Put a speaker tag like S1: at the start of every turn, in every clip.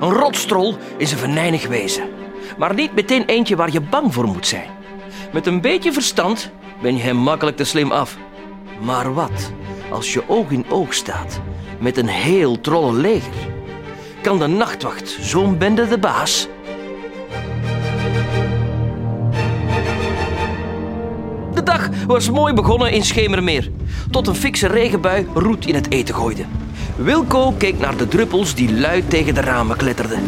S1: Een rotstrol is een venijnig wezen. Maar niet meteen eentje waar je bang voor moet zijn. Met een beetje verstand ben je hem makkelijk te slim af. Maar wat als je oog in oog staat met een heel trollenleger? Kan de nachtwacht zo'n bende de baas? De dag was mooi begonnen in Schemermeer. Tot een fikse regenbui roet in het eten gooide. Wilco keek naar de druppels die luid tegen de ramen kletterden.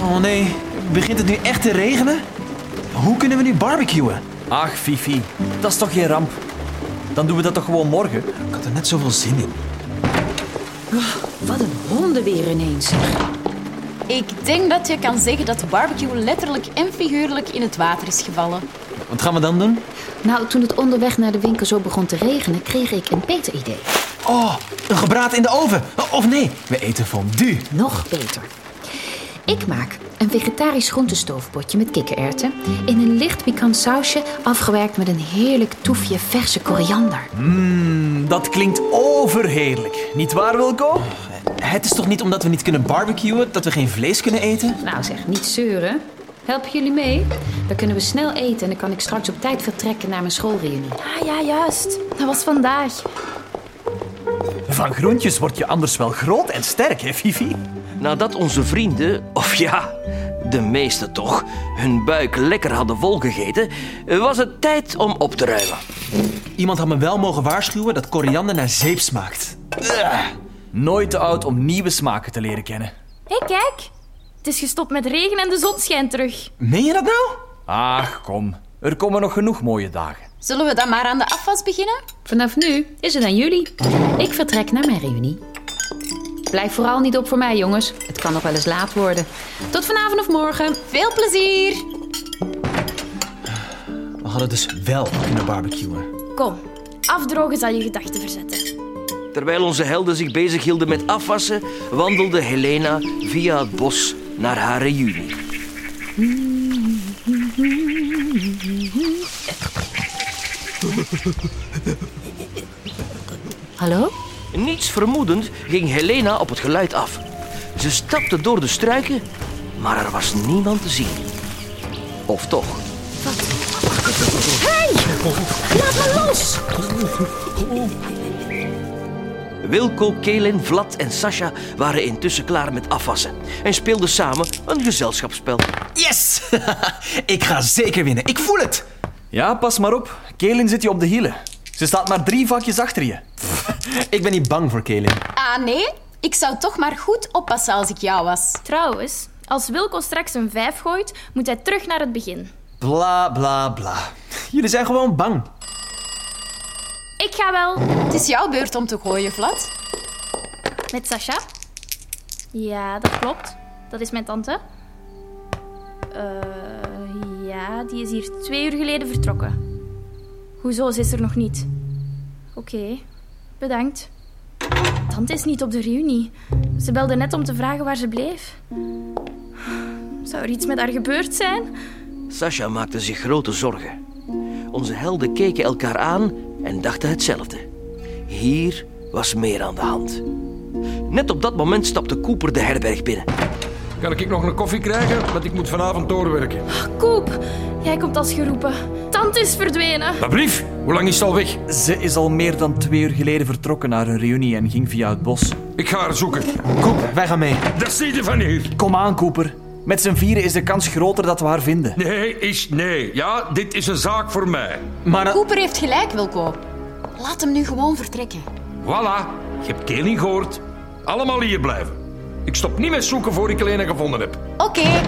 S2: Oh nee, begint het nu echt te regenen? Hoe kunnen we nu barbecuen?
S3: Ach, Fifi, dat is toch geen ramp? Dan doen we dat toch gewoon morgen?
S2: Ik had er net zoveel zin in.
S4: Wat een honden weer ineens.
S5: Ik denk dat je kan zeggen dat de barbecue letterlijk en figuurlijk in het water is gevallen.
S2: Wat gaan we dan doen?
S4: Nou, toen het onderweg naar de winkel zo begon te regenen, kreeg ik een beter idee.
S2: Oh, een gebraad in de oven. Oh, Of nee, we eten fondue.
S4: Nog beter. Ik maak een vegetarisch groentestoofpotje met kikkererwten in een licht pikant sausje afgewerkt met een heerlijk toefje verse koriander.
S3: Dat klinkt overheerlijk, niet waar, Wilco?
S2: Oh, Het is toch niet omdat we niet kunnen barbecuen dat we geen vlees kunnen eten?
S4: Nou zeg, niet zeuren. Helpen jullie mee? Dan kunnen we snel eten en dan kan ik straks op tijd vertrekken naar mijn schoolreunie.
S5: Ah ja, juist. Dat was vandaag.
S3: Van groentjes word je anders wel groot en sterk, hè, Fifi?
S1: Nadat onze vrienden, of ja, de meeste toch, hun buik lekker hadden volgegeten, was het tijd om op te ruimen.
S2: Iemand had me wel mogen waarschuwen dat koriander naar zeep smaakt.
S3: Nooit te oud om nieuwe smaken te leren kennen.
S6: Hé, kijk. Het is gestopt met regen en de zon schijnt terug.
S2: Meen je dat nou?
S3: Ach, kom. Er komen nog genoeg mooie dagen.
S5: Zullen we dan maar aan de afwas beginnen?
S4: Vanaf nu is het aan jullie. Ik vertrek naar mijn reunie. Blijf vooral niet op voor mij, jongens. Het kan nog wel eens laat worden. Tot vanavond of morgen.
S5: Veel plezier!
S2: We hadden dus wel kunnen barbecuen.
S6: Kom, afdrogen zal je gedachten verzetten.
S1: Terwijl onze helden zich bezighielden met afwassen, wandelde Helena via het bos naar haar reunie.
S4: Hallo?
S1: Niets vermoedend ging Helena op het geluid af. Ze stapte door de struiken, maar er was niemand te zien. Of toch?
S4: Laat me los!
S1: Wilco, Kelin, Vlad en Sasha waren intussen klaar met afwassen en speelden samen een gezelschapsspel.
S2: Yes! ik ga zeker winnen. Ik voel het.
S3: Ja, pas maar op. Kelin zit je op de hielen. Ze staat maar drie vakjes achter je.
S2: Ik ben niet bang voor Kelin.
S5: Ah nee, ik zou toch maar goed oppassen als ik jou was.
S6: Trouwens, als Wilco straks een vijf gooit, moet hij terug naar het begin.
S2: Bla bla bla. Jullie zijn gewoon bang.
S6: Ik ga wel.
S5: Het is jouw beurt om te gooien, Vlad.
S6: Met Sasha? Ja, dat klopt. Dat is mijn tante. Eh, ja, die is hier twee uur geleden vertrokken. Hoezo, ze is er nog niet? Oké, bedankt. Tante is niet op de reunie. Ze belde net om te vragen waar ze bleef. Zou er iets met haar gebeurd zijn?
S1: Sasha maakte zich grote zorgen. Onze helden keken elkaar aan en dachten hetzelfde. Hier was meer aan de hand. Net op dat moment stapte Cooper de herberg binnen.
S7: Kan ik nog een koffie krijgen? Want ik moet vanavond doorwerken.
S6: Koep, jij komt als geroepen. Tante is verdwenen.
S7: Dat brief? Hoe lang is het al weg?
S3: Ze is al meer dan twee uur geleden vertrokken naar een reunie en ging via het bos.
S7: Ik ga haar zoeken.
S2: Koep, wij gaan mee.
S7: Dat zie je van hier.
S3: Kom aan, Cooper. Met z'n vieren is de kans groter dat we haar vinden.
S7: Nee is nee. Ja, dit is een zaak voor mij.
S2: Maar eh, dan-
S5: Cooper heeft gelijk, Wilco. Laat hem nu gewoon vertrekken.
S7: Voilà. Je hebt Kelly gehoord. Allemaal hier blijven. Ik stop niet met zoeken voor ik Helena gevonden heb.
S5: Oké,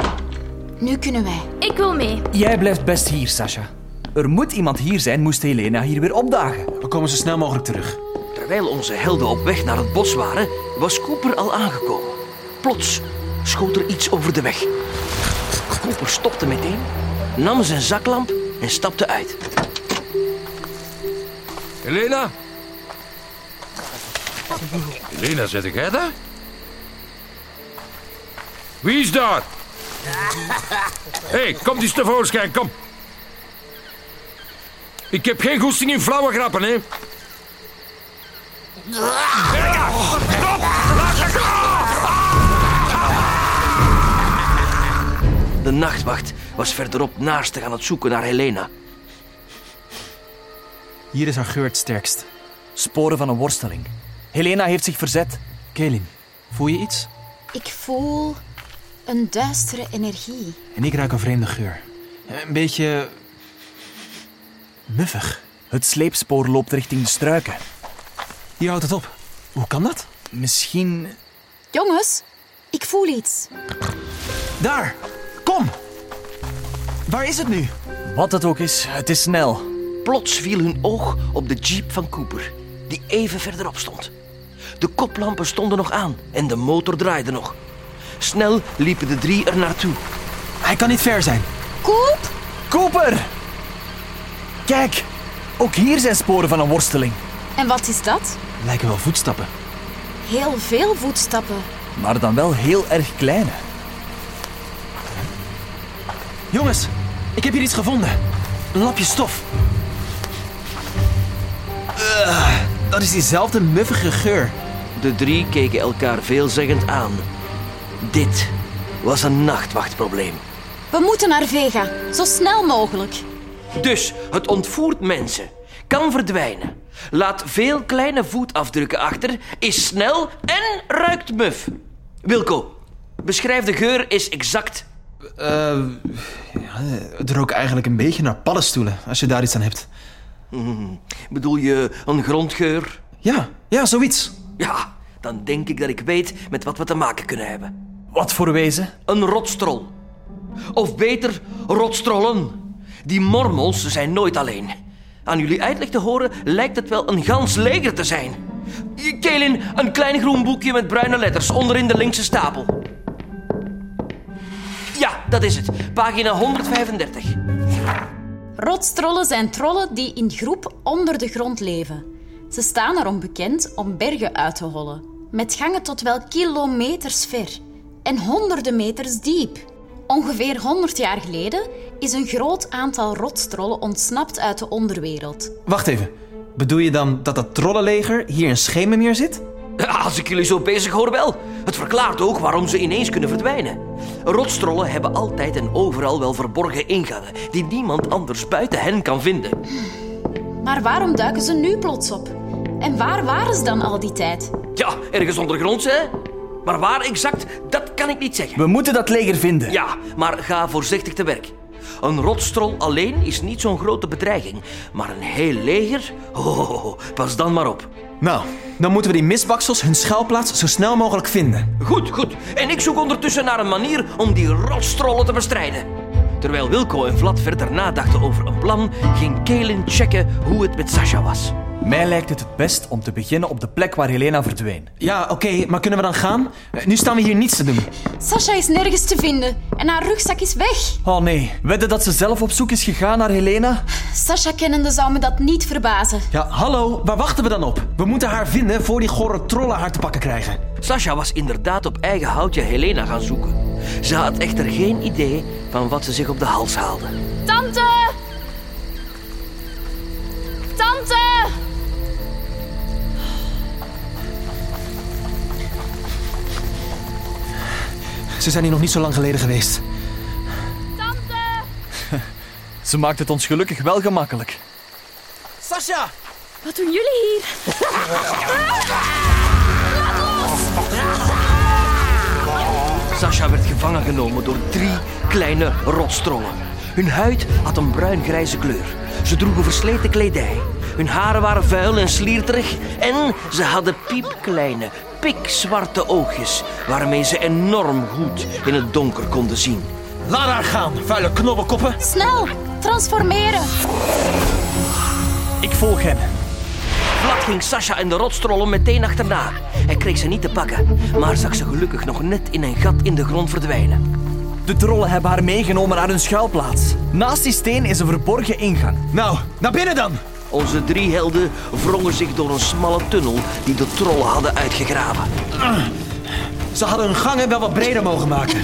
S5: nu kunnen wij.
S6: Ik wil mee.
S3: Jij blijft best hier, Sasha. Er moet iemand hier zijn, moest Helena hier weer opdagen.
S2: we komen zo snel mogelijk terug.
S1: Terwijl onze helden op weg naar het bos waren, was Cooper al aangekomen. Plots schoot er iets over de weg. Cooper stopte meteen, nam zijn zaklamp en stapte uit.
S7: Helena? Helena, zet jij dat? Wie is daar? Hé, hey, kom eens tevoorschijn, kom. Ik heb geen goesting in flauwe grappen, hè. Helena, stop! Laat me gaan!
S1: De nachtwacht was verderop naastig aan het zoeken naar Helena.
S2: Hier is haar geur het sterkst.
S3: Sporen van een worsteling. Helena heeft zich verzet.
S2: Kaelin, voel je iets?
S5: Ik voel een duistere energie.
S2: En ik ruik een vreemde geur. Een beetje... muffig.
S3: Het sleepspoor loopt richting de struiken.
S2: Hier houdt het op. Hoe kan dat? Misschien...
S5: Jongens, ik voel iets.
S2: Daar! Kom! Waar is het nu?
S3: Wat het ook is, het is snel.
S1: Plots viel hun oog op de jeep van Cooper, die even verderop stond. De koplampen stonden nog aan en de motor draaide nog. Snel liepen de drie er naartoe.
S2: Hij kan niet ver zijn.
S5: Koep?
S3: Cooper! Kijk, ook hier zijn sporen van een worsteling.
S5: En wat is dat?
S2: Lijken wel voetstappen.
S5: Heel veel voetstappen.
S3: Maar dan wel heel erg kleine.
S2: Jongens, ik heb hier iets gevonden. Een lapje stof. Ugh, Eh, dat is diezelfde muffige geur.
S1: De drie keken elkaar veelzeggend aan. Dit was een nachtwachtprobleem.
S5: We moeten naar Vega, zo snel mogelijk.
S1: Dus het ontvoert mensen, kan verdwijnen, laat veel kleine voetafdrukken achter, is snel en ruikt muf. Wilco, beschrijf de geur is exact.
S2: Eh, ja, het rook eigenlijk een beetje naar paddenstoelen, als je daar iets aan hebt.
S1: Bedoel je een grondgeur?
S2: Ja, ja, zoiets.
S1: Ja, dan denk ik dat ik weet met wat we te maken kunnen hebben.
S3: Wat voor wezen?
S1: Een rotstrol. Of beter, rotstrollen. Die mormels zijn nooit alleen. Aan jullie uitleg te horen lijkt het wel een gans leger te zijn. Kelin, een klein groen boekje met bruine letters onderin de linkse stapel. Ja, dat is het. Pagina 135.
S5: Rotstrollen zijn trollen die in groep onder de grond leven. Ze staan erom bekend om bergen uit te hollen, met gangen tot wel kilometers ver en honderden meters diep. Ongeveer 100 jaar geleden is een groot aantal rotstrollen ontsnapt uit de onderwereld.
S2: Wacht even. Bedoel je dan dat dat trollenleger hier in Schemenmeer zit?
S1: Als ik jullie zo bezig hoor wel. Het verklaart ook waarom ze ineens kunnen verdwijnen. Rotstrollen hebben altijd en overal wel verborgen ingangen die niemand anders buiten hen kan vinden.
S5: Maar waarom duiken ze nu plots op? En waar waren ze dan al die tijd?
S1: Ja, ergens ondergronds, hè? Maar waar exact, dat kan ik niet zeggen.
S3: We moeten dat leger vinden.
S1: Ja, maar ga voorzichtig te werk. Een rotstrol alleen is niet zo'n grote bedreiging. Maar een heel leger? Oh, pas dan maar op.
S2: Nou, dan moeten we die misbaksels hun schuilplaats zo snel mogelijk vinden.
S1: Goed, goed. En ik zoek ondertussen naar een manier om die rotstrollen te bestrijden. Terwijl Wilco en Vlad verder nadachten over een plan, ging Kaelin checken hoe het met Sasha was.
S3: Mij lijkt het het best om te beginnen op de plek waar Helena verdween.
S2: Ja, oké, maar kunnen we dan gaan? Eh, Nu staan we hier niets te doen.
S5: Sasha is nergens te vinden en haar rugzak is weg.
S3: Oh nee, wedden dat ze zelf op zoek is gegaan naar Helena?
S5: Sasha kennende zou me dat niet verbazen.
S2: Ja, hallo, waar wachten we dan op? We moeten haar vinden voor die gore trollen haar te pakken krijgen.
S1: Sasha was inderdaad op eigen houtje Helena gaan zoeken. Ze had echter geen idee van wat ze zich op de hals haalde.
S6: Tante! Tante!
S2: Ze zijn hier nog niet zo lang geleden geweest.
S6: Tante!
S3: Ze maakt het ons gelukkig wel gemakkelijk.
S2: Sasha!
S6: Wat doen jullie hier?
S1: Sasha werd gevangen genomen door drie kleine rotstrollen. Hun huid had een bruin-grijze kleur. Ze droegen versleten kledij. Hun haren waren vuil en slierterig. En ze hadden piepkleine, pikzwarte oogjes... waarmee ze enorm goed in het donker konden zien.
S2: Laat haar gaan, vuile knobbelkoppen.
S5: Snel, transformeren.
S3: Ik volg hen.
S1: Vlak ging Sasha en de rotstrollen meteen achterna. Hij kreeg ze niet te pakken, maar zag ze gelukkig nog net in een gat in de grond verdwijnen.
S3: De trollen hebben haar meegenomen naar hun schuilplaats. Naast die steen is een verborgen ingang.
S2: Nou, naar binnen dan!
S1: Onze drie helden wrongen zich door een smalle tunnel die de trollen hadden uitgegraven.
S2: Ze hadden hun gangen wel wat breder mogen maken.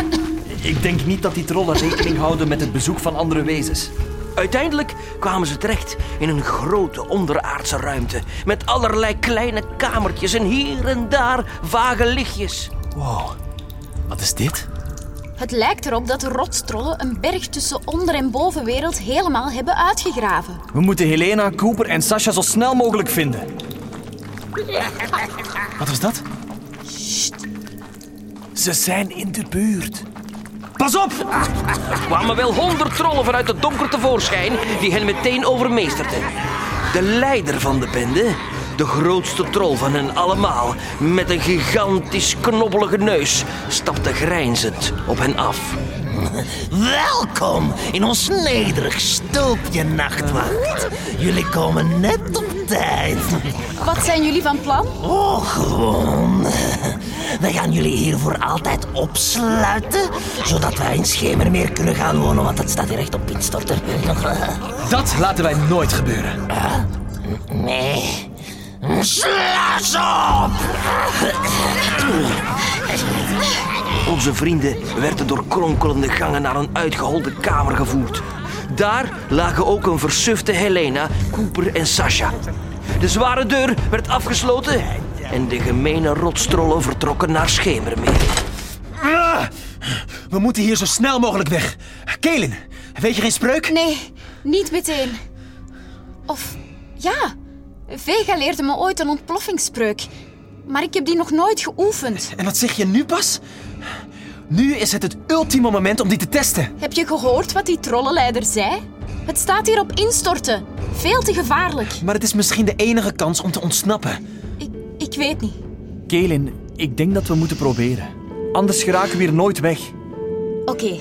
S3: Ik denk niet dat die trollen rekening houden met het bezoek van andere wezens.
S1: Uiteindelijk kwamen ze terecht in een grote onderaardse ruimte met allerlei kleine kamertjes en hier en daar vage lichtjes.
S3: Wow, wat is dit?
S5: Het lijkt erop dat de rotstrollen een berg tussen onder- en bovenwereld helemaal hebben uitgegraven.
S3: We moeten Helena, Cooper en Sasha zo snel mogelijk vinden.
S2: Wat was dat?
S3: Ze zijn in de buurt.
S2: Pas op!
S1: kwamen wel honderd trollen vanuit het donker tevoorschijn die hen meteen overmeesterden. De leider van de bende, de grootste troll van hen allemaal, met een gigantisch knobbelige neus, stapte grijnzend op hen af.
S8: Welkom in ons nederig stoepje, nachtwacht. Jullie komen net op tijd.
S5: Wat zijn jullie van plan?
S8: Oh, gewoon. Wij gaan jullie hier voor altijd opsluiten, zodat wij in Schemer meer kunnen gaan wonen, want het staat hier echt op instorten.
S2: Dat laten wij nooit gebeuren.
S8: Nee. Sluis op!
S1: Onze vrienden werden door kronkelende gangen naar een uitgeholde kamer gevoerd. Daar lagen ook een versufte Helena, Cooper en Sasha. De zware deur werd afgesloten en de gemene rotstrollen vertrokken naar Schemermeer.
S2: Ah! We moeten hier zo snel mogelijk weg. Kelen, weet je geen spreuk?
S5: Nee, niet meteen. Of ja, Vega leerde me ooit een ontploffingspreuk. Maar ik heb die nog nooit geoefend.
S2: En wat zeg je nu pas? Nu is het het ultieme moment om die te testen.
S5: Heb je gehoord wat die trollenleider zei? Het staat hier op instorten. Veel te gevaarlijk.
S2: Maar het is misschien de enige kans om te ontsnappen.
S5: Ik, ik weet niet.
S3: Kelin, ik denk dat we moeten proberen. Anders geraken we hier nooit weg.
S5: Oké.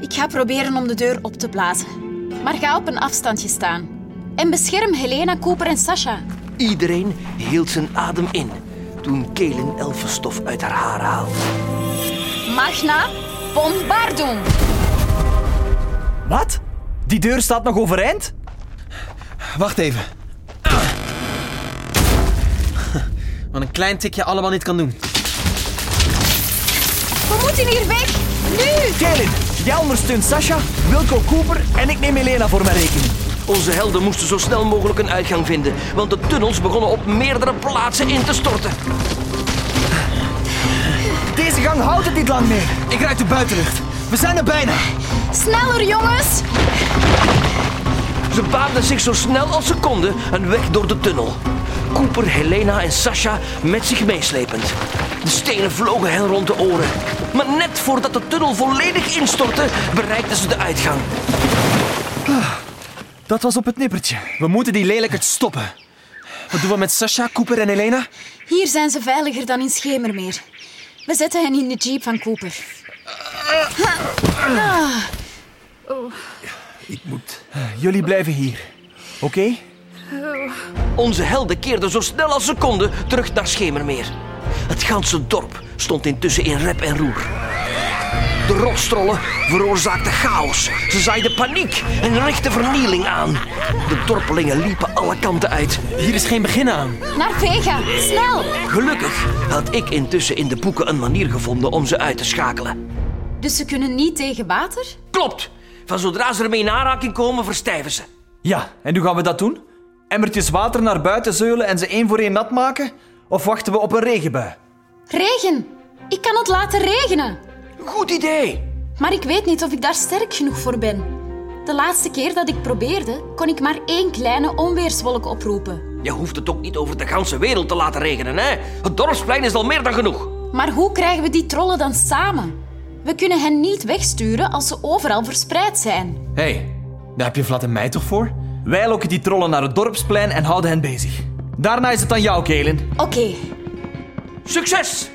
S5: Ik ga proberen om de deur op te blazen. Maar ga op een afstandje staan. En bescherm Helena, Cooper en Sasha.
S1: Iedereen hield zijn adem in toen Kelen elfenstof uit haar haar haalde.
S5: Magna, bombardum.
S3: Wat? Die deur staat nog overeind?
S2: Wacht even. Wat een klein tikje allemaal niet kan doen.
S5: We moeten hier weg. Nu.
S3: Kelin, jij ondersteunt Sasha, Wilco Cooper en ik neem Helena voor mijn rekening.
S1: Onze helden moesten zo snel mogelijk een uitgang vinden, want de tunnels begonnen op meerdere plaatsen in te storten.
S3: Deze gang houdt het niet lang meer.
S2: Ik ruik de buitenlucht. We zijn er bijna.
S5: Sneller, jongens.
S1: Ze baanden zich zo snel als ze konden een weg door de tunnel. Cooper, Helena en Sasha met zich meeslepend. De stenen vlogen hen rond de oren. Maar net voordat de tunnel volledig instortte, bereikten ze de uitgang.
S3: Dat was op het nippertje.
S2: We moeten die lelijkert stoppen. Wat doen we met Sasha, Cooper en Elena?
S5: Hier zijn ze veiliger dan in Schemermeer. We zetten hen in de jeep van Cooper.
S3: Jullie blijven hier. Oké?
S1: Onze helden keerden zo snel als ze konden terug naar Schemermeer. Het ganse dorp stond intussen in rep en roer. De rotstrollen veroorzaakten chaos. Ze zaaiden paniek en richtten vernieling aan. De dorpelingen liepen alle kanten uit.
S2: Hier is geen begin aan.
S5: Naar Vega, snel!
S1: Gelukkig had ik intussen in de boeken een manier gevonden om ze uit te schakelen.
S5: Dus ze kunnen niet tegen water?
S1: Klopt! Van zodra ze ermee in aanraking komen, verstijven ze.
S3: Ja, en hoe gaan we dat doen? Emmertjes water naar buiten zeulen en ze één voor één nat maken? Of wachten we op een regenbui?
S5: Regen! Ik kan het laten regenen.
S1: Goed idee!
S5: Maar ik weet niet of ik daar sterk genoeg voor ben. De laatste keer dat ik probeerde, kon ik maar één kleine onweerswolk oproepen.
S1: Je hoeft het ook niet over de ganse wereld te laten regenen, hè? Het dorpsplein is al meer dan genoeg.
S5: Maar hoe krijgen we die trollen dan samen? We kunnen hen niet wegsturen als ze overal verspreid zijn.
S2: Hé, hey, daar heb je Vlad en mij toch voor?
S3: Wij lokken die trollen naar het dorpsplein en houden hen bezig. Daarna is het aan jou, Kelen.
S5: Oké,
S1: Succes!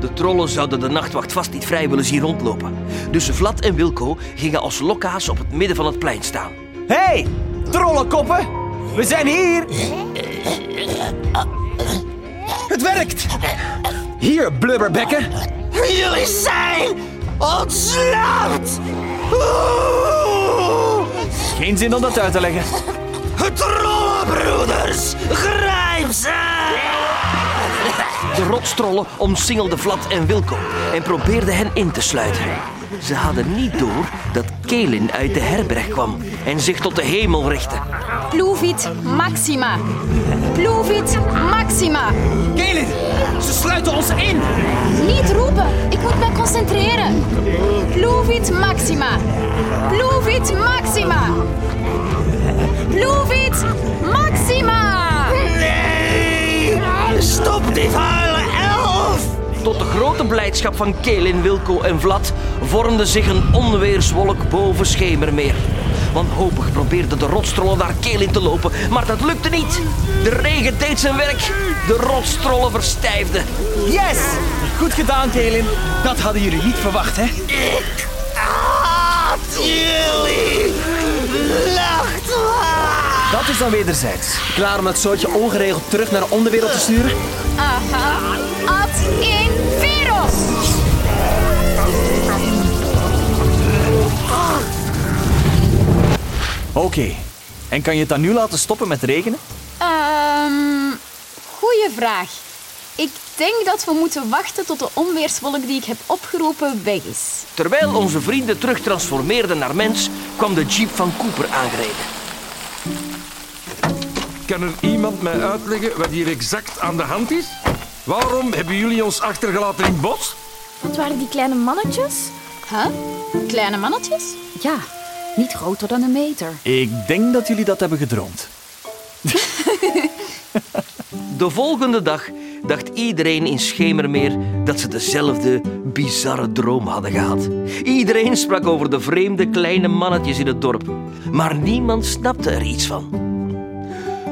S1: De trollen zouden de nachtwacht vast niet vrij willen zien rondlopen. Dus Vlad en Wilco gingen als lokka's op het midden van het plein staan.
S3: Hé, hey, trollenkoppen! We zijn hier!
S2: Het werkt! Hier, blubberbekken.
S8: Jullie zijn ontsnapt! Oeh!
S3: Geen zin om dat uit te leggen.
S8: Trollenbroeders, grijp ze!
S1: De rotstrollen omsingelden Vlad en Wilco en probeerden hen in te sluiten. Ze hadden niet door dat Kelin uit de herberg kwam en zich tot de hemel richtte.
S5: Pluvit maxima. Pluvit maxima.
S2: Kaelin, ze sluiten ons in!
S5: Niet roepen. Ik moet mij concentreren. Pluvit maxima. Pluvit maxima. Pluvit maxima.
S8: Stop die vuile elf!
S1: Tot de grote blijdschap van Kelin, Wilco en Vlad vormde zich een onweerswolk boven Schemermeer. Wanhopig probeerden de rotstrollen naar Kelin te lopen, maar dat lukte niet. De regen deed zijn werk, de rotstrollen verstijfden.
S2: Yes! Goed gedaan, Kaelin. Dat hadden jullie niet verwacht, hè?
S8: Haat jullie! Lacht maar!
S3: Dat is dan wederzijds.
S2: Klaar om dat soortje ongeregeld terug naar de onderwereld te sturen?
S5: Aha. Ad in veros.
S3: Oké. En kan je het dan nu laten stoppen met regenen?
S5: Ehm goeie vraag. Ik denk dat we moeten wachten tot de onweerswolk die ik heb opgeroepen weg is.
S1: Terwijl onze vrienden terugtransformeerden naar mens, kwam de jeep van Cooper aangereden.
S7: Kan er iemand mij uitleggen wat hier exact aan de hand is? Waarom hebben jullie ons achtergelaten in het bos?
S6: Wat waren die kleine mannetjes?
S5: Huh? Kleine mannetjes?
S4: Ja, niet groter dan een meter.
S3: Ik denk dat jullie dat hebben gedroomd.
S1: De volgende dag dacht iedereen in Schemermeer dat ze dezelfde bizarre droom hadden gehad. Iedereen sprak over de vreemde kleine mannetjes in het dorp, maar niemand snapte er iets van.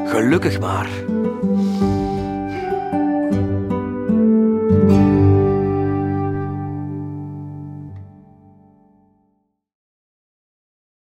S1: Gelukkig maar,